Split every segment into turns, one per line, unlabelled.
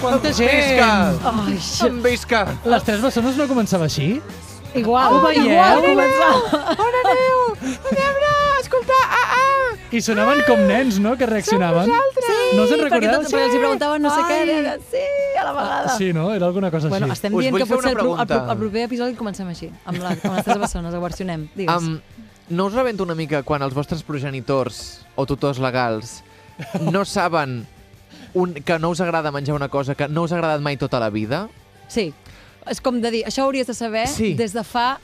Quanta gent! Visca!
Ai,
Em visca!
Les tres bessones no començava així?
igual.
Ho veieu?
Igual començava.
On aneu? A veure, escolta, ah, ah!
I sonaven com nens, no?, que reaccionaven. no us en
perquè
recordeu?
tot, però els hi preguntaven no sé què.
Ai.
Era, sí, a la vegada.
Sí, no? Era alguna cosa
Bueno,
així.
estem
Ah, Us
dient
vull
que
fer
potser
una
el, pro- el, pro-
pregunta.
el proper episodi comencem així, amb, la, amb les tres persones, ho versionem. Digues.
Um, no us rebenta una mica quan els vostres progenitors o tutors legals no saben un, que no us agrada menjar una cosa que no us ha agradat mai tota la vida?
Sí. És com de dir, això ho hauries de saber
Sí.
des de fa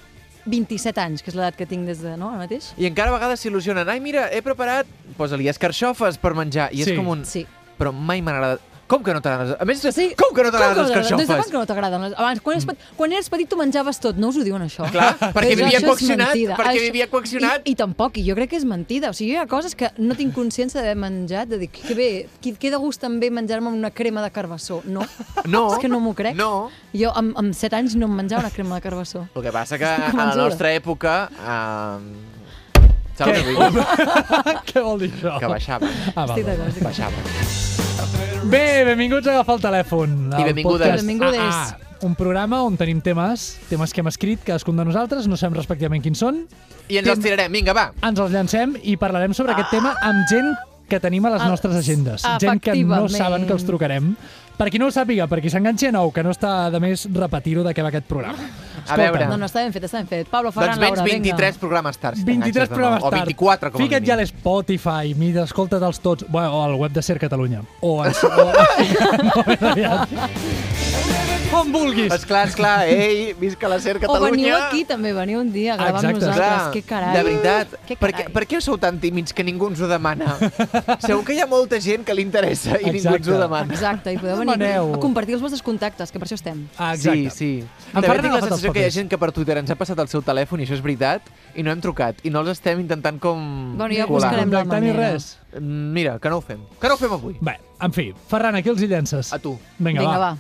27 anys, que és l'edat que tinc des de... No, ara mateix?
I encara a vegades s'il·lusionen. Ai, mira, he preparat... Posa-li escarxofes per menjar. I
Sí.
és com un...
Sí.
Però mai m'ha agradat. Com que no t'agraden? A més,
Sí.
com que no t'agraden
Com
les
que no Des de quan
carxofes?
que no t'agraden? les- Abans, quan, eres, pe- quan eres petit tu menjaves tot, no us ho diuen això?
Mm. Clar, perquè
Això-
vivia
això és
coaccionat,
mentida.
perquè vivia coaccionat.
I, I tampoc, i jo crec que és mentida. O sigui, hi ha coses que no tinc consciència d'haver menjat, de dir, que bé, que, que de gust també menjar-me una crema de carbassó. No,
No.
és que no m'ho crec.
No.
Jo amb, amb 7 anys no em menjava una crema de carbassó.
El que passa que
Estic
a la
convençuda.
nostra època... Eh, saps què vull dir?
Què vol dir això?
Que baixaven.
Ah, va,
Estic
va.
d'acord. estic d'acord.
Baixaven.
Bé, benvinguts a agafar el telèfon. al
benvingudes.
podcast
Benvingudes.
AA, un programa on tenim temes, temes que hem escrit cadascun de nosaltres, no sabem respectivament quins són,
I ens els tirarem. Vinga, va.
ens els llancem i parlarem sobre aquest tema amb gent que tenim a les
Ah,
nostres agendes. Gent que no
efectivament.
saben que els trucarem. Per qui no ho sàpiga, per qui s'enganxi a nou, que no està de més repetir-ho de què va aquest programa. Escolta,
veure.
No, no, està ben fet, està ben fet. Pablo
Doncs
Ferran,
vens
Laura,
23
vinga.
programes tard. si
23
t'enganxes de nou.
programes tard.
O 24, com a
Fica't
mínim.
ja a l'Spotify, mira, escolta-te'ls tots. Bueno, o al web de Ser Catalunya. O al... O, no, ben aviat. On vulguis.
Esclar, esclar. Ei, visca la SER
O
Catalunya.
veniu aquí també, veniu un dia a gravar amb
Exacte.
nosaltres.
Clar,
Que carai.
De veritat,
Que
per,
carai.
què, per què sou tan tímids que ningú ens ho demana? Segur que hi ha molta gent que li interessa i ningú ens ho
Exacte.
demana.
Exacte, i podeu venir
Demaneu.
a compartir els vostres contactes, que per això estem.
Ah,
Sí,
exacte.
sí. També
En Ferran
tinc
ha
la
agafat els
sensació que hi ha
papers.
gent que per Twitter ens ha passat el seu telèfon, i això és veritat, i no hem trucat, i no els estem intentant com...
Bueno, ja
colar.
buscarem.
Contactar ni
manera.
res.
Mm, Mira, que no ho fem. Que no ho fem avui.
Bé, en fi, Ferran, aquí els hi llences.
A tu.
Vinga,
Vinga,
va.
va.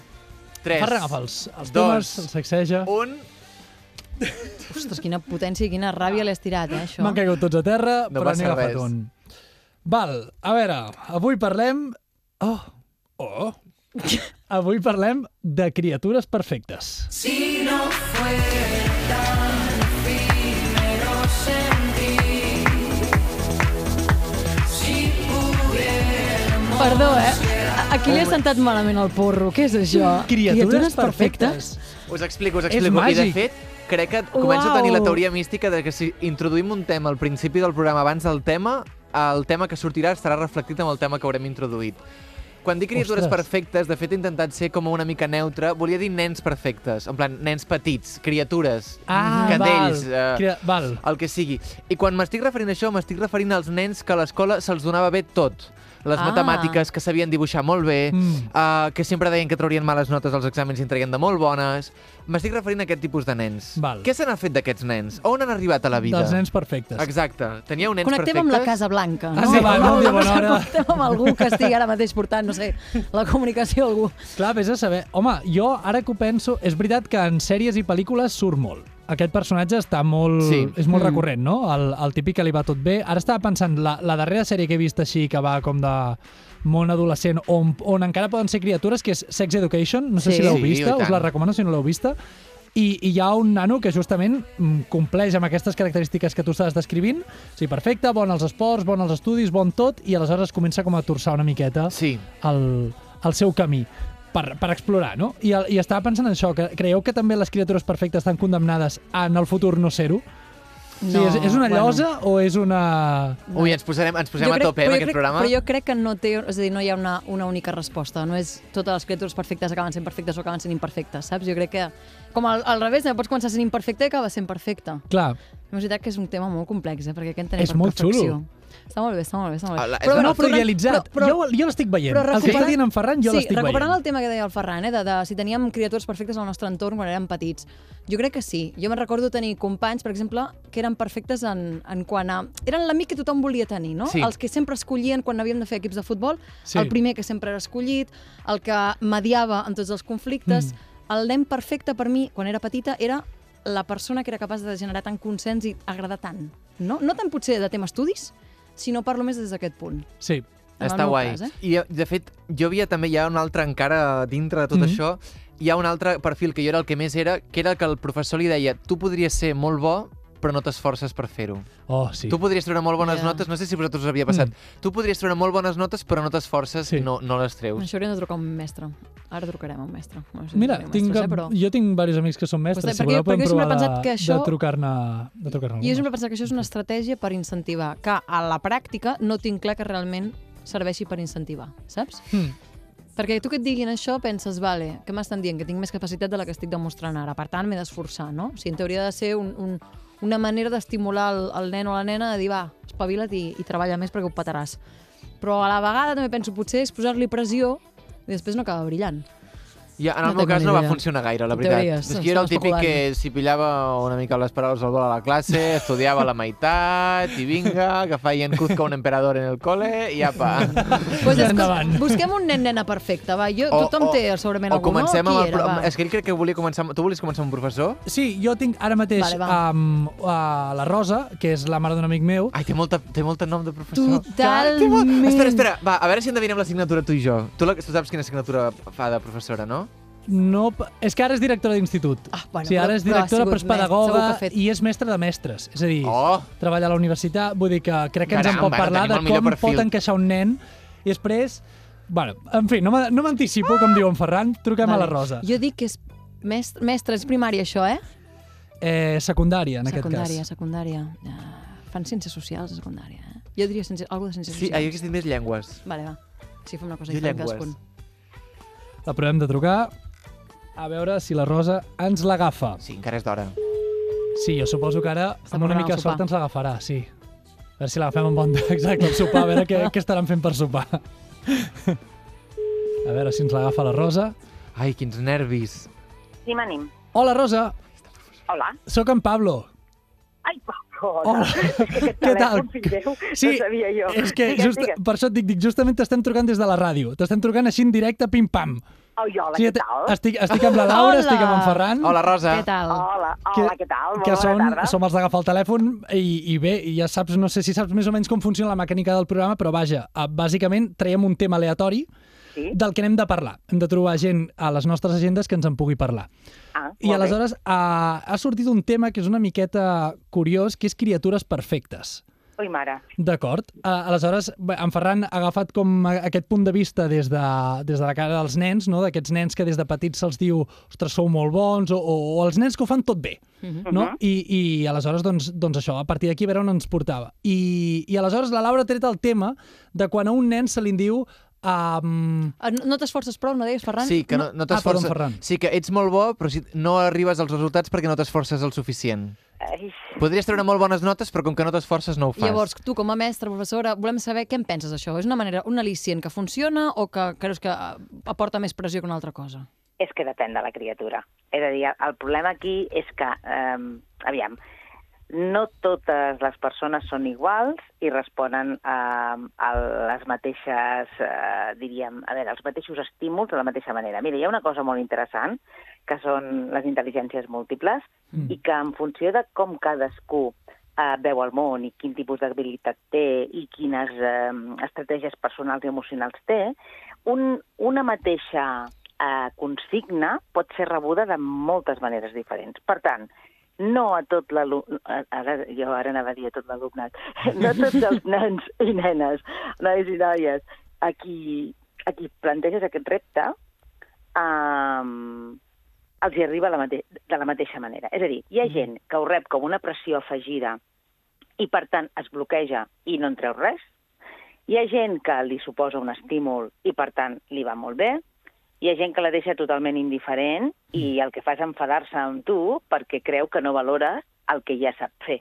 3,
Ferran agafa els,
dos,
els temes, els sacseja.
1...
Ostres, quina potència i quina ràbia l'has tirat, eh, això.
M'han caigut tots a terra,
No
però
passa
n'he agafat
res.
un. Val, a veure, avui parlem... Oh, oh... Avui parlem de criatures perfectes.
Perdó, eh? Aquí li ha sentat malament el porro. Què és això?
Us explico, us
És
explico. I de
màgic.
fet, crec que començo a tenir
Uau.
la teoria mística de que si introduïm un tema al principi del programa abans del tema, el tema que sortirà estarà reflectit amb el tema que haurem introduït. Quan dic criatures
Ostres.
perfectes, de fet he intentat ser com una mica neutre, volia dir nens perfectes, en plan, nens petits, criatures,
Ah,
cadells,
val.
eh,
Cria... Val.
el que sigui. I quan m'estic referint a això, m'estic referint als nens que a l'escola se'ls donava bé tot. Les
Ah.
ah. matemàtiques, que sabien dibuixar molt bé,
Mm.
mm. uh, que sempre deien que traurien males notes als exàmens i en traien de molt bones. M'estic referint a aquest tipus de nens.
Val.
Què se n'ha fet d'aquests nens? On han arribat a la vida?
Dels nens perfectes.
Exacte. Teníeu nens
Connectem
perfectes?
amb la Casa Blanca.
Ah, sí, va, no,
Vamos
de
a
bona hora.
Connectem amb algú que estigui ara mateix portant, no sé, la comunicació a algú.
Clar, vés a saber. Home, jo ara que ho penso, és veritat que en sèries i pel·lícules surt molt. Aquest personatge està molt, sí.
Sí.
és molt mm. recurrent, no? El, el típic que li va tot bé. Ara estava pensant, la, la darrera sèrie que he vist així, que va com de món adolescent, on, on encara poden ser criatures, que és Sex Education, no sé
Sí.
si l'heu
Sí,
vista,
i
us
tant.
la recomano si no l'heu vista, i, i hi ha un nano que justament mm, compleix amb aquestes característiques que tu estàs descrivint. O sigui, perfecte, bon als esports, bon als estudis, bon tot, i aleshores comença com a torçar una miqueta
Sí.
el, el seu camí per, per explorar, no? I, el, I estava pensant en això, que creieu que també les criatures perfectes estan condemnades a en el futur no ser-ho? O sigui,
No,
és, és una
bueno.
llosa o és una...
Ui, ens posarem, ens posem
Jo
a tope eh, amb
però jo
aquest
crec,
programa.
Però jo crec que no, té, és a dir, no hi ha una, una única resposta. No és totes les criatures perfectes acaben sent perfectes o acaben sent imperfectes, saps? Jo crec que, com al, al revés, no pots començar sent imperfecte i acaba sent perfecte.
Clar,
La veritat que és un tema molt complex, eh? perquè què entenem
És
per
molt
perfecció?
xulo.
Està molt bé, està molt bé. Està molt
Ah, la-
bé.
és
un
bueno,
altre idealitzat. Però, però, jo jo l'estic veient. El que està
recuperant-
dient en Ferran, jo
sí,
l'estic
recuperant
veient.
el tema que deia el Ferran, eh, de, de si teníem criatures perfectes al nostre entorn quan érem petits. Jo crec que sí. Jo me'n recordo tenir companys, per exemple, que eren perfectes en, en quant a... Eren l'amic que tothom volia tenir, no?
Sí.
Els que sempre escollien quan havíem de fer equips de futbol,
Sí.
el primer que sempre era escollit, el que mediava en tots els conflictes. Mm. El nen perfecte per mi, quan era petita, era la persona que era capaç de generar tant consens i agradar tant. No, no tant potser de tema estudis, sinó parlo més des d'aquest punt.
Sí,
en
Està
el meu
guai.
cas. Eh?
I, de fet, jo havia també, hi ha un altre encara dintre de tot
Mhm.
això, hi ha un altre perfil que jo era el que més era, que era el que el professor li deia, tu podries ser molt bo, però no t'esforces per fer-ho.
Oh, sí.
Tu podries treure molt bones
Ja. Mm.
notes, no sé si a vosaltres us havia passat, tu podries treure molt bones notes, però no t'esforces,
Sí.
no, no les treus.
Això hauríem de trucar a un mestre. Ara trucarem a un mestre. No sé si
Mira,
teniu
tinc,
mestres, eh, però...
jo tinc diversos amics que són mestres,
Pues de-
si
perquè-
voleu podem
perquè sempre he
provar de,
pensat que això-
de trucar-ne de trucar
Jo sempre he pensat que això és una estratègia per incentivar, que a la pràctica no tinc clar que realment serveixi per incentivar, saps?
Hmm.
Perquè tu que et diguin això penses, vale, què m'estan dient? Que tinc més capacitat de la que estic demostrant ara, per tant m'he d'esforçar, no? O sigui, en teoria ha de ser un, un, una manera d'estimular el, el nen o la nena a dir, va, espavila't i, i treballa més perquè ho petaràs. Però a la vegada també penso, potser és posar-li pressió i després no acaba brillant.
Ja, en
No
el meu
tengo
cas
ni
no va
idea.
funcionar gaire, la
En
veritat.
teoria,
és que
estem
jo era el típic
especulant.
que si pillava una mica les paraules al vol a la classe, estudiava a la meitat, i vinga, que feien Cuzca un emperador en el cole, i apa.
Pues és,
Endavant.
busquem un nen-nena perfecte, va. Jo, tothom té segurament
o
algú, no?
comencem
Qui
amb el...
era,
pro-
va?
És que ell crec que volia començar... amb- Tu volies començar amb un professor?
Sí, jo tinc ara mateix
Vale, va.
um, uh, la Rosa, que és la mare d'un amic meu.
Ai, té, molta, té molta nom de professor.
Totalment.
Té molt- Espera, espera, va, a veure si endevinem la signatura tu i jo. Tu, la, tu saps quina signatura fa de professora, no?
No, p- és que ara és directora d'institut.
Ah, bueno,
sí, ara
però-
és
però ha
directora, però, és
sigut mestre, segur
pedagoga
que ha fet.
i és mestra de mestres. És a dir,
Oh!
treballa a la universitat, vull dir que crec que ens en
Caram,
pot
ara
parlar
tenim
de
el millor
com
perfil.
pot encaixar un nen i després... Bueno, en fi, no me- no m'anticipo, no com diu en Ferran, truquem a la Rosa.
Jo dic que és mestre, mestre és primària, això, eh?
Eh, secundària, en
secundària,
aquest cas.
secundària. Uh, fan ciències socials a secundària, eh? Jo diria ciència, alguna de ciències
Sí,
socials.
ahir hagués dit més llengües.
Vale, va. Sí, fem una cosa
Jo
diferent
llengües.
cadascun.
La provem de trucar a veure si la Rosa ens l'agafa.
Sí, encara és d'hora.
Sí, jo suposo que ara,
Està
amb una
preparant
mica
el
de
sopar.
sort, ens l'agafarà, sí. A veure si l'agafem amb bon... Exacte, el sopar, a veure què, què estaran fent per sopar. A veure si ens l'agafa la Rosa.
Ai, quins nervis.
Sí, m'anim.
Hola, Rosa!
Hola.
Sóc en Pablo.
Ai, Pablo,
Hola.
hola. És que aquest
Què tal?
telèfon, fill meu,
Sí,
no sabia jo.
És que
digues,
just,
digues.
per això et dic, dic, justament t'estem trucant des de la ràdio. T'estem trucant així en directe, pim-pam.
Ai, Oh, hola,
Sí,
què tal?
estic, estic amb la Laura,
Hola.
estic amb en Ferran.
Hola, Rosa.
Mm, Què tal?
Hola,
que-
hola, què tal? Molt
que
bona
són,
tarda.
som els d'agafar el telèfon i, i bé, i ja saps, no sé si saps més o menys com funciona la mecànica del programa, però vaja, eh, bàsicament traiem un tema aleatori
Sí?
del que n'hem de parlar. Hem de trobar gent a les nostres agendes que ens en pugui parlar.
Ah, molt
I
bé.
aleshores ha, ha sortit un tema que és una miqueta curiós, que és criatures perfectes.
Ui, mare.
D'acord. Uh, aleshores, bé, en Ferran ha agafat com a- aquest punt de vista des de, des de la cara dels nens, no? d'aquests nens que des de petits se'ls diu ostres, sou molt bons, o, o, o els nens que ho fan tot bé.
Mhm.
no?
Mhm.
I, I aleshores, doncs, doncs això, a partir d'aquí a veure on ens portava. I, I aleshores la Laura ha tret el tema de quan a un nen se li en diu... Um,
Ah, no- No t'esforces prou, no deies, Ferran?
Sí, que no, no
Ah,
t'esforces...
perdó, Ferran.
sí, que ets molt bo, però si no arribes als resultats perquè no t'esforces el suficient.
Ai,
Podries treure molt bones notes, però com que no t'esforces no ho fas.
Llavors, tu com a mestra, professora, volem saber què en penses d'això. És una manera, un al·licient que funciona o que creus que eh, aporta més pressió que una altra cosa?
és que depèn de la criatura. És a dir, el problema aquí és que, eh, aviam, no totes les persones són iguals i responen eh, a les mateixes, eh, diríem, a veure, els mateixos estímuls de la mateixa manera. Mira, hi ha una cosa molt interessant, que són les intel·ligències múltiples,
Mm.
mm. i que en funció de com cadascú eh, veu el món i quin tipus d'habilitat té i quines eh, estratègies personals i emocionals té, un, una mateixa eh, consigna pot ser rebuda de moltes maneres diferents. Per tant, no a tot l'alumne... Ara, jo ara anava a dir a tot l'alumnat. No a tots els nens i nenes, nois i noies, a qui, a qui planteges aquest repte, eh, els hi arriba la mate de la mateixa manera. És a dir, hi ha gent que ho rep com una pressió afegida i, per tant, es bloqueja i no en treu res. Hi ha gent que li suposa un estímul i, per tant, li va molt bé. Hi ha gent que la deixa totalment indiferent i
Mm.
el que fa és enfadar-se amb tu perquè creu que no valores el que ja sap fer.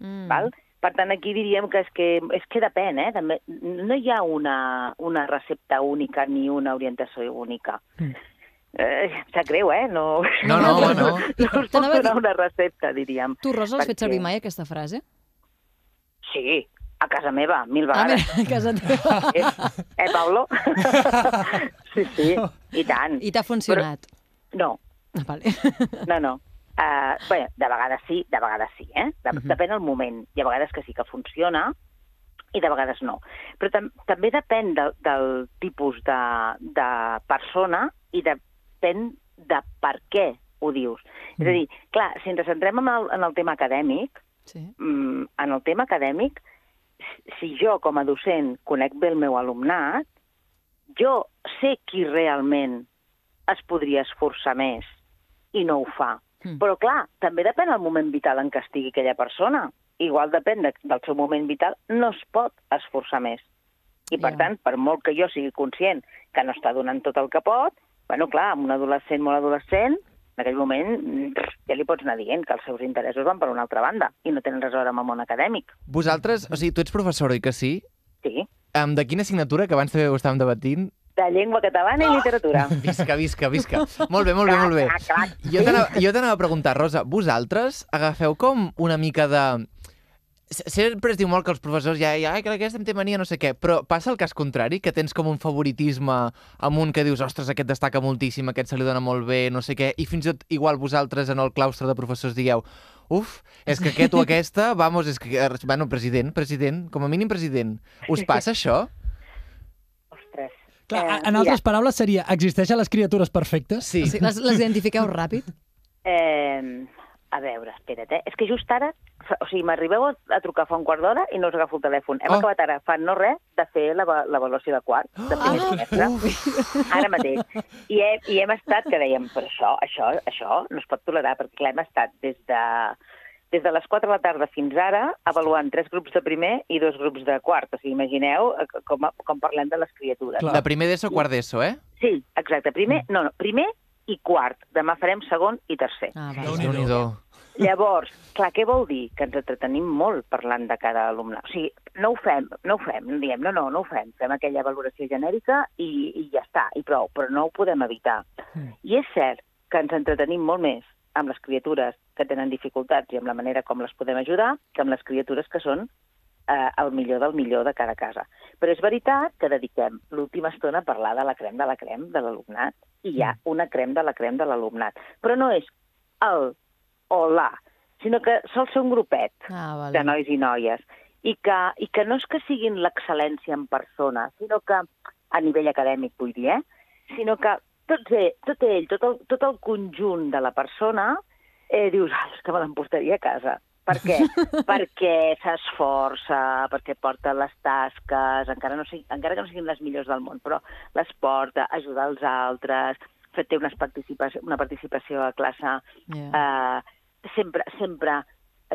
Mm.
Val? Per tant, aquí diríem que és que, és que depèn, eh? També, no hi ha una, una recepta única ni una orientació única.
Mm.
Eh, em sap greu, eh? No,
No, no, home, no.
no us puc
T'anava a dir-
donar una recepta, diríem.
Tu, Rosa, has fet
Perquè-
servir mai aquesta frase?
Sí, a casa meva, mil
A
vegades.
veure, Ah, a casa teva.
Eh, eh, Pablo? sí, sí, i tant.
I t'ha funcionat.
No,
Ah, vale.
No, no. Uh, bé, de vegades sí, de vegades sí, eh? De,
Mhm.
Depèn del moment. Hi ha vegades que sí que funciona i de vegades no. Però tam també depèn del, del tipus de, de persona i depèn de per què ho dius. Mm. És a dir, clar, si ens centrem en el, en el tema acadèmic,
Sí.
mm, en el tema acadèmic, si jo com a docent conec bé el meu alumnat, jo sé qui realment es podria esforçar més i no ho fa.
Mm.
Mm. Però, clar, també depèn del moment vital en què estigui aquella persona. Igual depèn de, del seu moment vital, no es pot esforçar més. I, per
Ja.
yeah. tant, per molt que jo sigui conscient que no està donant tot el que pot, bueno, clar, amb un adolescent molt adolescent, en aquell moment mm, ja li pots anar dient que els seus interessos van per una altra banda i no tenen res a veure amb el món acadèmic.
Vosaltres, o sigui, tu ets professor, oi que sí?
Sí.
Um, de quina assignatura, que abans també ho estàvem debatint?
De llengua catalana i literatura.
Visca, visca, visca. molt bé, molt bé, molt bé.
Clar, clar, clar.
Jo t'anava jo t'anava a preguntar, Rosa, vosaltres agafeu com una mica de... S- Sempre es diu molt que els professors ja, ja, "Ai, que aquesta em té mania, no sé què, però passa el cas contrari, que tens com un favoritisme amb un que dius, ostres, aquest destaca moltíssim, aquest se li dona molt bé, no sé què, i fins i tot igual vosaltres en el claustre de professors dieu, uf, és que aquest o aquesta, vamos, és que... eh, Bueno, president, president, com a mínim president. Us passa això?
Ostres.
Clar,
Eh,
en altres paraules seria, existeixen les criatures perfectes?
Sí.
Sí, les, les identifiqueu ràpid?
Eh, a veure, espera't, eh? És que just ara, o sigui, m'arribeu a, a trucar fa un quart d'hora i no us agafo el telèfon. Hem
Oh.
oh. acabat ara, fa no res, de fer la- l'avaluació de quart, de primer
Ah,
trimestre, ara mateix. I hem, I hem estat, que dèiem, però això, això, això no es pot tolerar, perquè clar, hem estat des de, des de les 4 de la tarda fins ara avaluant tres grups de primer i dos grups de quart. O sigui, imagineu eh, com, com parlem de les criatures.
Clar.
De primer d'ESO, quart d'ESO, eh?
Sí, exacte. Primer, no, no, primer i quart. Demà farem segon i tercer.
Ah, va.
Déu-n'hi-do.
Déu-n'hi-do.
Llavors, clar, què vol dir? Que ens entretenim molt parlant de cada alumne. O sigui, no ho fem, no ho fem, no diem, no, no, no ho fem. Fem aquella valoració genèrica i, i ja està, i prou, però no ho podem evitar.
Mm.
I és cert que ens entretenim molt més amb les criatures que tenen dificultats i amb la manera com les podem ajudar que amb les criatures que són eh, el millor del millor de cada casa. Però és veritat que dediquem l'última estona a parlar de la crem de la crem de l'alumnat i hi ha una crem de la crem de l'alumnat. Però no és el o la, sinó que sol ser un grupet
Ah,
de
vale.
nois i noies. I que, I que no és que siguin l'excel·lència en persona, sinó que, a nivell acadèmic vull dir, eh? sinó que tot, tot ell, tot el, tot el conjunt de la persona, eh, dius, "Ai, és que me l'emportaria a casa. Per què? perquè s'esforça, perquè porta les tasques, encara, no sigui, encara que no siguin les millors del món, però les porta, ajuda els altres, fer- té unes participació, una participació a classe
Yeah.
eh, sempre, sempre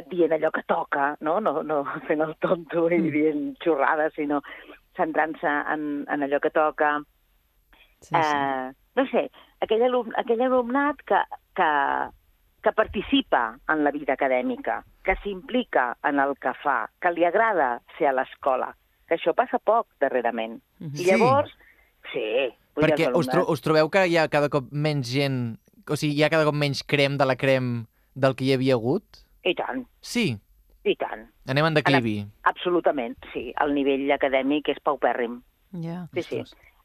dient allò que toca, no, no, no fent el tonto
Mm.
i dient xorrades, sinó centrant-se en, en allò que toca.
Sí, sí.
Eh, no sé, aquell, alum, aquell alumnat que, que, que participa en la vida acadèmica, que s'implica en el que fa, que li agrada ser a l'escola, que això passa poc darrerament.
Mm-hmm. Sí.
I llavors, sí, vull dir, els
Perquè us, tro
alumnes-
us trobeu que hi ha cada cop menys gent... O sigui, hi ha cada cop menys crem de la crem del que hi havia hagut?
I tant,
Sí,
i tant,
anem en declivi.
absolutament, sí. El nivell acadèmic és paupèrrim.
Yeah.
Sí, sí.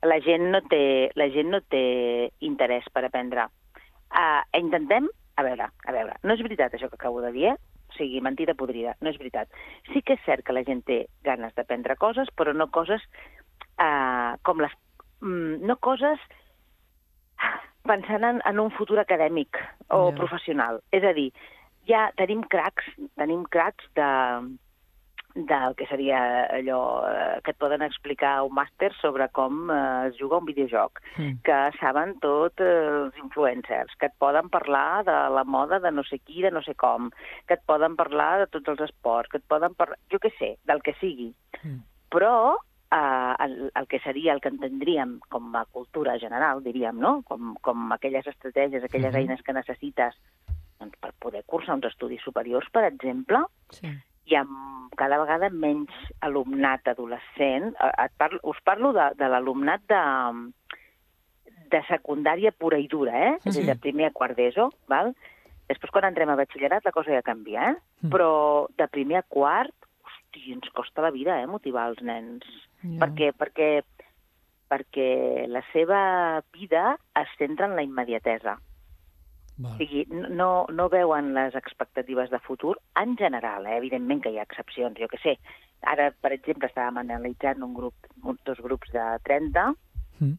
La gent no té, la gent no té interès per aprendre. Uh, intentem... A veure, a veure, no és veritat això que acabo de dir, eh? O sigui, mentida podrida, no és veritat. Sí que és cert que la gent té ganes d'aprendre coses, però no coses uh, com les... Mm, no coses pensant en, en un futur acadèmic o
Ja.
professional. És a dir, ja tenim cracs, tenim cracs de, del que seria allò eh, que et poden explicar un màster sobre com eh, es juga un videojoc,
Mm.
que saben tot eh, els influencers, que et poden parlar de la moda de no sé qui, de no sé com, que et poden parlar de tots els esports, que et poden parlar, jo què sé, del que sigui.
Mm.
Però eh, el, el que seria el que entendríem com a cultura general, diríem, no? Com, com aquelles estratègies, aquelles
Mhm.
eines que necessites doncs, per poder cursar uns estudis superiors, per exemple,
Sí.
hi ha cada vegada menys alumnat adolescent. Eh, Et parlo, us parlo de, de l'alumnat de, de secundària pura i dura, eh? És a dir, de primer a quart d'ESO, val? Després, quan entrem a batxillerat, la cosa ja canvia, eh?
Mm.
Però de primer a quart, hosti, ens costa la vida, eh, motivar els nens.
Ja.
Perquè, perquè, perquè la seva vida es centra en la immediatesa.
Val.
O sigui, no, no veuen les expectatives de futur en general, eh? evidentment que hi ha excepcions, jo que sé. Ara, per exemple, estàvem analitzant un grup, un, dos grups de 30
Mm.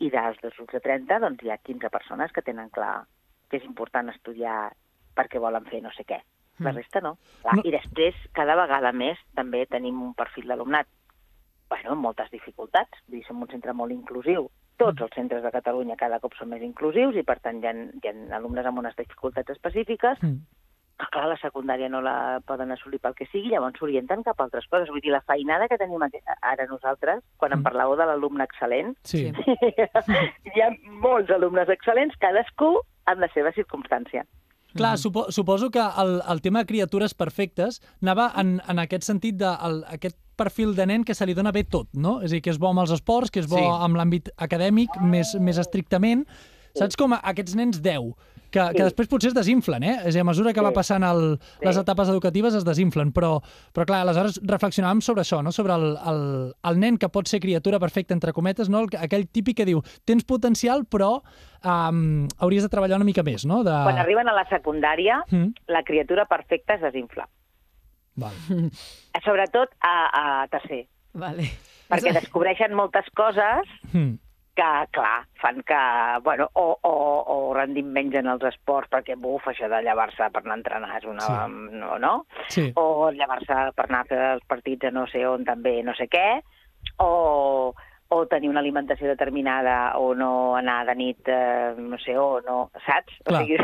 i dels dos grups de 30 doncs, hi ha 15 persones que tenen clar que és important estudiar perquè volen fer no sé què. La resta no. Clar,
Mm. No.
I després, cada vegada més, també tenim un perfil d'alumnat bueno, amb moltes dificultats. Vull dir, som un centre molt inclusiu.
Mm.
Tots els centres de Catalunya cada cop són més inclusius i, per tant, hi ha, hi ha alumnes amb unes dificultats específiques
Mm.
que, clar, la secundària no la poden assolir pel que sigui, llavors s'orienten cap a altres coses. Vull dir, la feinada que tenim aquí- ara nosaltres, quan
Mm.
em parlàveu de l'alumne excel·lent,
Sí.
Sí.
hi ha molts alumnes excel·lents, cadascú amb la seva circumstància. Mhm.
Clar, supo suposo que el, el tema de criatures perfectes anava en, en aquest sentit de el, aquest perfil de nen que se li dona bé tot, no? És a dir, que és bo amb els esports, que és bo
Sí.
sí. amb l'àmbit acadèmic, més, més estrictament. Saps com a- aquests nens 10, que, sí.
Sí.
que després potser es desinflen, eh? És a dir, a mesura que va
Sí.
passant el, les
Sí.
etapes educatives es desinflen, però, però clar, aleshores reflexionàvem sobre això, no? Sobre el, el, el nen que pot ser criatura perfecta, entre cometes, no? El, aquell típic que diu, tens potencial, però um, hauries de treballar una mica més, no? De...
Quan arriben a la secundària,
Mm.
la criatura perfecta es desinfla.
Val.
Sobretot a, a tercer,
Mm. Vale.
perquè descobreixen moltes coses
Mm.
que, clar, fan que... Bueno, o, o, o rendim menys en els esports perquè, buf, això de llevar-se per anar a entrenar és una...
Sí.
Sí. No, no?
Sí.
O llevar-se per anar a fer els partits a no sé on també, no sé què. O, o tenir una alimentació determinada o no anar de nit eh, no sé on, o, saps?
Clar.
O sigui...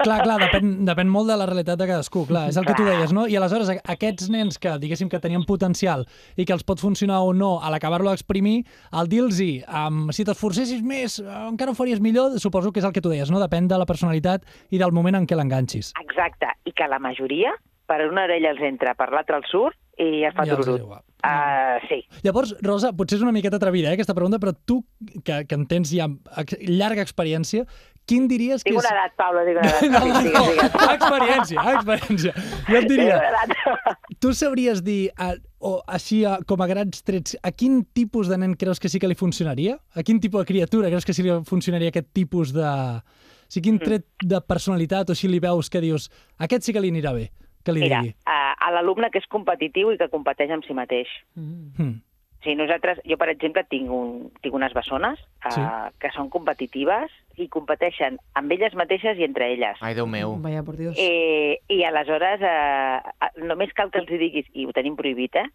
Clar, clar, depèn, depèn molt de la realitat de cadascú, clar, és el que tu deies, no? I aleshores a- aquests nens que, diguéssim, que tenien potencial i que els pot funcionar o no a l'acabar-lo d'exprimir, el dir-los um, si t'esforcessis més, eh, encara ho faries millor, suposo que és el que tu deies, no? Depèn de la personalitat i del moment en què l'enganxis.
Exacte, i que la majoria, per una orella els entra, per l'altra els surt, i es fa
Ja els
tururut.
diu, va.
Uh, sí,
Llavors, Rosa, potser és una miqueta atrevida, eh, aquesta pregunta, però tu, que, que en tens ja ex- llarga experiència, quin diries que
tinc
és...
una edat, Paula, tinc una
No, no,
edat. Sí, digues, digues.
no, experiència, experiència. Jo et
Tinc
diria,
una edat.
Tu sabries dir, a, o així a, com a grans trets, a quin tipus de nen creus que sí que li funcionaria? A quin tipus de criatura creus que sí que li funcionaria aquest tipus de... O sigui, quin tret de personalitat o així li veus que dius, aquest sí que li anirà bé, que li
Mira,
digui.
eh, a l'alumne que és competitiu i que competeix amb si mateix.
Mm.
Hmm.
O sigui, nosaltres, jo, per exemple, tinc, un, tinc unes bessones eh,
Sí.
que són competitives i competeixen amb elles mateixes i entre elles.
Ai, Déu meu.
Vaya, por Dios.
Eh, I aleshores, eh, eh, només cal que els hi diguis, i ho tenim prohibit, eh?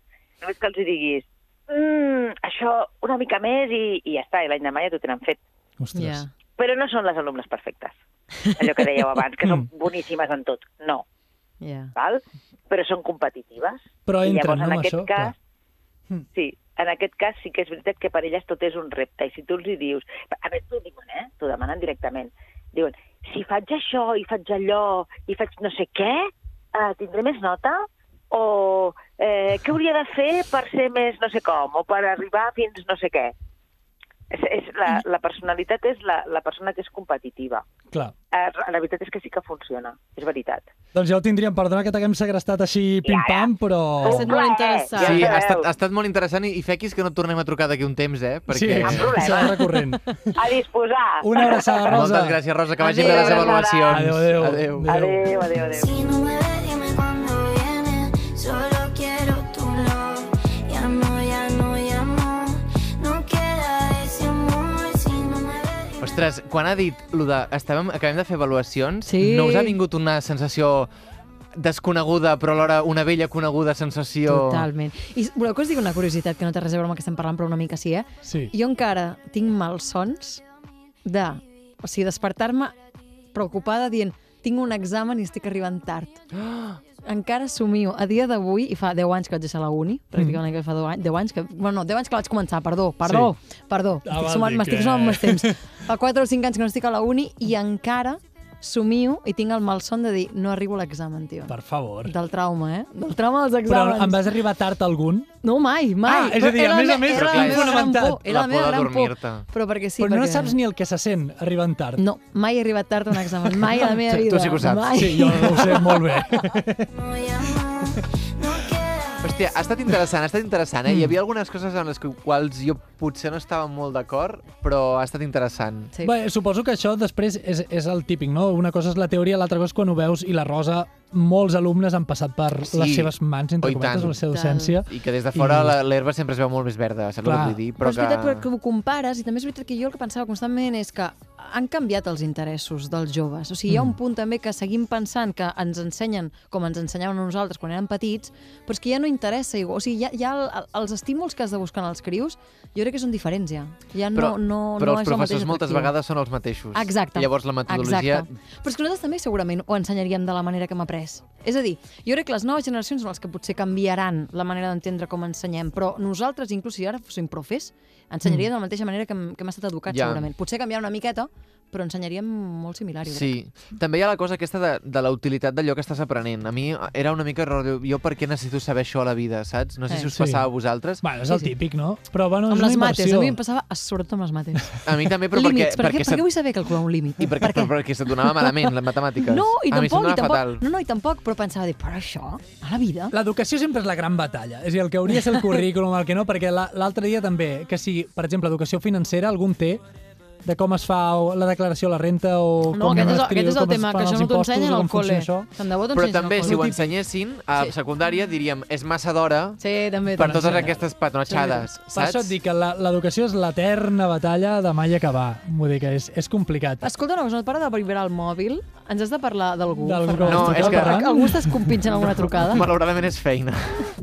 Només que els hi diguis, mm, això una mica més i, i ja està, i l'any demà ja t'ho tenen fet.
Ostres.
Ja.
Però no són les alumnes perfectes, allò que dèieu abans, que són boníssimes en tot. No,
Ja.
val? però són competitives.
Però
I
entren,
llavors, en
no, amb
aquest
això?
cas,
Clar. Mm.
sí, en aquest cas sí que és veritat que per elles tot és un repte. I si tu els hi dius... A veure, t'ho diuen, eh? T'ho demanen directament. Diuen, si faig això i faig allò i faig no sé què, eh, tindré més nota? O eh, què hauria de fer per ser més no sé com? O per arribar fins no sé què? És, és la,
Mm.
la personalitat és la, la persona que és competitiva.
Clar.
Eh, la veritat és que sí que funciona, és veritat.
Doncs ja ho tindríem, perdona que t'haguem segrestat així pim-pam, però...
Ha estat
eh,
molt interessant.
Sí,
Ja
ha estat,
sabeu.
ha estat molt interessant i, i fequis que no et tornem a trucar d'aquí un temps, eh? Perquè...
Cap
Sí,
problema.
serà recurrent.
A disposar!
Una abraçada, Rosa.
Moltes gràcies, Rosa, que vagi bé
Adéu.
les avaluacions.
Adéu, adéu.
adéu.
Adéu, adéu, adéu.
Si no me ves, dime cuándo vienes. Solo quiero tu love. Ya no, ya no, ya no. No queda ese amor. Si no me ves, dime
Ostres, quan ha dit lo de estàvem, acabem de fer avaluacions,
Sí.
no us ha vingut una sensació desconeguda, però alhora una vella coneguda sensació...
Totalment. I voleu que us digui una curiositat que no té res a veure amb el que estem parlant, però una mica sí, eh?
Sí.
Jo encara tinc malsons de... O sigui, despertar-me preocupada dient tinc un examen i estic arribant tard. Encara somio. A dia d'avui, i fa 10 anys que vaig deixar la uni,
Mm.
pràcticament que fa 10 anys, 10 anys que... Bueno, no, 10 anys que la vaig començar, perdó, perdó, sí. perdó.
Ah,
Estic
val
sumant,
dir
m'estic
que-
sumant més temps. Fa 4 o 5 anys que no estic a la uni i encara somio i tinc el malson de dir no arribo a l'examen, tio.
Per favor.
Del trauma, eh? Del trauma dels
Però
exàmens.
em vas arribar tard a algun?
No, mai, mai.
Ah, és a dir,
Era
a
la
més a
me-
més,
era la
clar,
meva gran
fonamentat.
por, Era
La
la meva
por de
gran por.
dormir-te.
Però perquè sí,
però no
perquè...
saps ni el que se sent arribant tard.
No, mai he arribat tard a un examen, mai a la meva
Tu-
vida.
tu sí que ho saps.
Mai.
Sí, jo ho sé molt bé.
cuándo ya no. No queda
Hòstia, ha estat interessant, ha estat interessant,
Mm.
eh? Hi havia algunes coses amb les que- quals jo potser no estava molt d'acord, però ha estat interessant.
Sí.
Bé, suposo que això després és, és el típic, no? Una cosa és la teoria, l'altra cosa és quan ho veus i la Rosa, molts alumnes han passat per
Sí.
les seves mans,
Oh,
entre
i
cometes,
tant.
o la seva
I tant.
docència.
I que des de fora
I-
la- l'herba sempre es veu molt més verda, saps
Clar.
què vull dir?
Però,
Però,
és veritat que...
que...
que ho compares, i també és veritat que jo el que pensava constantment és que han canviat els interessos dels joves. O sigui, hi
Mm.
ha un punt també que seguim pensant que ens ensenyen com ens ensenyaven a nosaltres quan érem petits, però és que ja no interessa igual. O sigui, ja, ja el, el- els estímuls que has de buscar en els crius jo crec que són diferents ja. Ja no,
però,
no,
però
no
els
és el mateix
professors moltes
atractiu.
vegades són els mateixos.
Exacte.
Llavors la metodologia...
Exacte. Però és que nosaltres també segurament ho ensenyaríem de la manera que hem après. És a dir, jo crec que les noves generacions són les que potser canviaran la manera d'entendre com ensenyem, però nosaltres, inclús si ara fóssim profes, ensenyaríem mm. de la mateixa manera que hem, que hem estat educats,
Ja.
ja. segurament. Potser canviar una miqueta, però ensenyaríem molt similar, jo crec.
Sí, també hi ha la cosa aquesta de, de la utilitat d'allò que estàs aprenent. A mi era una mica rotllo, jo per què necessito saber això a la vida, saps? No sé
Eh.
si us
Sí.
passava a vosaltres.
Bueno, és el
Sí, sí.
típic, no? Però, bueno,
Amb
és
les
una
mates,
inversió.
a mi em passava a- sobretot amb les mates.
A mi també, Eh, però
Límits, per,
perquè...
què, per què vull saber calcular un límit?
I perquè, per perquè se't donava malament, la matemàtica.
No, i
a mi
tampoc,
em
i tampoc.
fatal.
No, no, i tampoc, però pensava, dir, però això, a la vida...
L'educació sempre és la gran batalla. És a dir, el que hauria de ser el currículum, el que no, perquè la- l'altre dia també, que si, per exemple, educació financera, algun té de com es fa o la declaració de la renta o
No,
com
aquest és, el-
escriu,
aquest és el
com es
tema, que
fan
això
els
no t'ho
impostos,
ensenyen
o
al
com
cole.
funciona això.
Tant de bo
Doncs
t'ho
Però
ensenyen
també,
al
si ho
col·le.
ensenyessin, a
Sí.
secundària diríem és massa d'hora
Sí, també.
per
te
totes
l'ensenyen.
aquestes patonatxades,
Per això et
saps?
dic que la- l'educació és l'eterna batalla de mai acabar. Vull dir que és, és complicat.
Escolta, una cosa, no et para de vibrar el mòbil? Ens has de parlar d'algú?
D'algú
Ferran?
que
No, és que-
Algú- Algú estàs compinxant alguna trucada?
Malauradament és feina.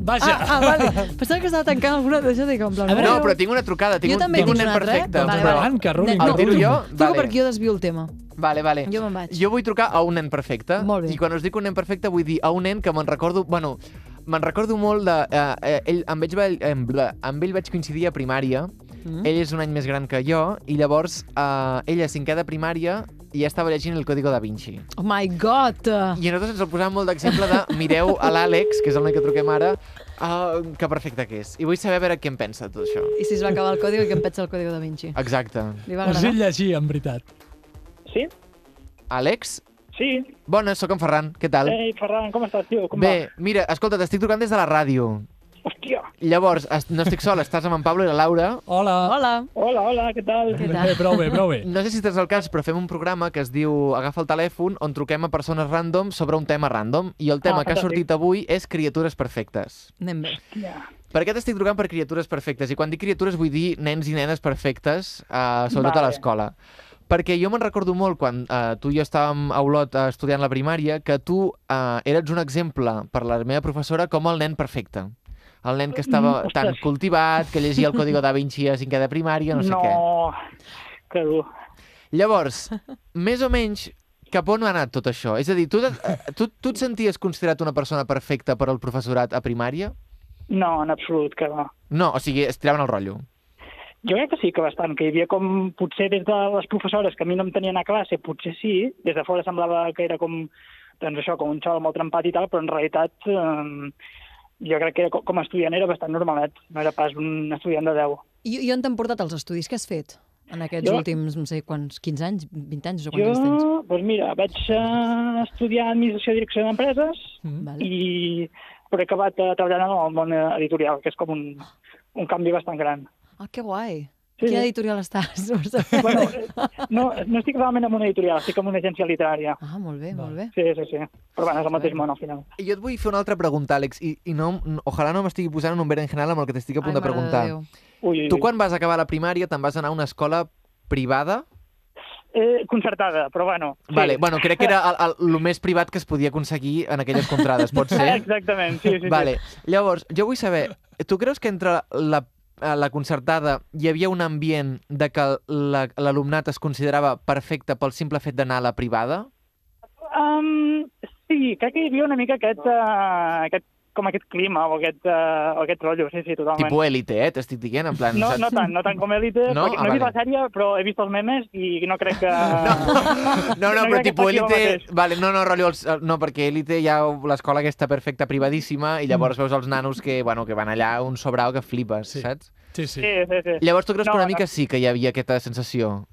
Vaja!
Ah, ah, vale. Pensava que estava tancant alguna cosa de com...
A veure,
No, però tinc una trucada, tinc,
jo
un,
també
tinc un
tinc
nen
una altra, eh?
perfecte.
Vale,
Doncs
vale.
endavant, que rulin.
No,
El tiro jo?
Truco
Vale.
perquè jo desvio el tema.
Vale, vale.
Jo me'n vaig.
Jo vull trucar a un nen perfecte.
Molt bé.
I quan us dic un nen perfecte vull dir a un nen que me'n recordo... Bueno, me'n recordo molt de... Eh, eh, ell, amb, ell, va- em- bla- amb ell vaig coincidir a primària. Mm.
Eh,
Ell és un any més gran que jo i llavors eh, ell a cinquè de primària i ja estava llegint el Código da Vinci.
Oh my god!
I a nosaltres ens el posàvem molt d'exemple de mireu a l'Àlex, que és el noi que truquem ara, uh, que perfecte que és. I vull saber a veure què en pensa de tot això.
I si es va acabar el còdigo i que em pensa el còdigo da Vinci.
Exacte.
Li va
Us sé
agradar?
llegir, en veritat.
Sí?
Àlex?
Sí.
Bona, sóc en Ferran, què tal?
Ei, Ferran, com estàs, tio? Com
Bé, mira, escolta, t'estic trucant des de la ràdio.
va? Hòstia!
Llavors, es- no estic sol, estàs amb en Pablo i la Laura.
Hola.
Hola!
Hola, hola, què tal?
Què
Bé,
tal?
prou bé, prou bé.
No sé si estàs al cas, però fem un programa que es diu Agafa el telèfon, on truquem a persones random sobre un tema random, i el tema
Ah,
que ha
fantàstic.
sortit avui és criatures perfectes.
Anem bé.
Per què t'estic trucant per criatures perfectes? I quan dic criatures vull dir nens i nenes perfectes, eh, sobretot a
Vale.
l'escola. Perquè jo me'n recordo molt quan eh, tu i jo estàvem a Olot eh, estudiant la primària que tu eh, eres un exemple per la meva professora com el nen perfecte. El nen que estava
Mm, ostres.
tan cultivat, que llegia el Código da Vinci a cinquè de primària, no sé què.
que dur.
Llavors, més o menys, cap on ha anat tot això? És a dir, tu, et- tu, tu et senties considerat una persona perfecta per al professorat a primària?
No, en absolut, que no.
No, o sigui, es tiraven el rotllo.
Jo crec que sí, que bastant, que hi havia com, potser des de les professores que a mi no em tenien a classe, potser sí, des de fora semblava que era com, doncs això, com un xaval molt trempat i tal, però en realitat eh, jo crec que era, co- com a estudiant era bastant normalet, no era pas un estudiant de 10.
I, I on t'han portat els estudis que has fet? En aquests
Jo-
últims, no sé, quants, 15 anys, 20 anys o
Jo,
quants anys tens?
doncs mira, vaig eh, estudiar Administració i Direcció d'Empreses
Vale.
Mm. i però he acabat eh, treballant en el món editorial, que és com un, un canvi bastant gran.
Ah, que guai!
Sí,
Quina
sí.
editorial estàs?
Bueno, eh, no, no estic realment en una editorial, estic en una agència literària.
Ah, molt bé, molt bé.
Sí, sí, sí. Però bueno, és el mateix món, al final.
I jo et vull fer una altra pregunta, Àlex, i, i no, no- ojalà no m'estigui posant en un veren general amb el que t'estic a punt de
Ai, mare
preguntar.
Déu.
Ui,
tu quan vas acabar la primària te'n vas anar a una escola privada?
Eh, concertada, però bueno. Sí.
Vale, bueno, crec que era el, el, el més privat que es podia aconseguir en aquelles contrades, pot
Eh,
ser?
Exactament, sí, sí.
Vale, llavors, jo vull saber, tu creus que entre la, eh, la concertada hi havia un ambient de que la- l'alumnat es considerava perfecte pel simple fet d'anar a la privada?
Sí. Um, sí, crec que hi havia una mica aquest, uh, aquest com aquest clima o aquest, uh, o aquest rotllo, sí, sí, totalment.
Tipo élite, eh? T'estic dient, en plan...
No,
saps?
no tant, no tant com Elite,
No?
no? perquè
Ah,
no he vist
vale.
la sèrie, però he vist els memes i no crec que... No,
No, no, però
crec que
tipus
faci el
élite...
mateix.
Vale, no, no, rotllo, els, eh, no, perquè élite ja l'escola aquesta perfecta privadíssima i llavors
Mm.
veus els nanos que, bueno, que van allà un sobrau que flipes,
Sí.
sí. saps?
Sí, sí.
Sí, sí, sí.
Llavors tu creus
No,
que una
no.
mica sí que hi havia aquesta sensació?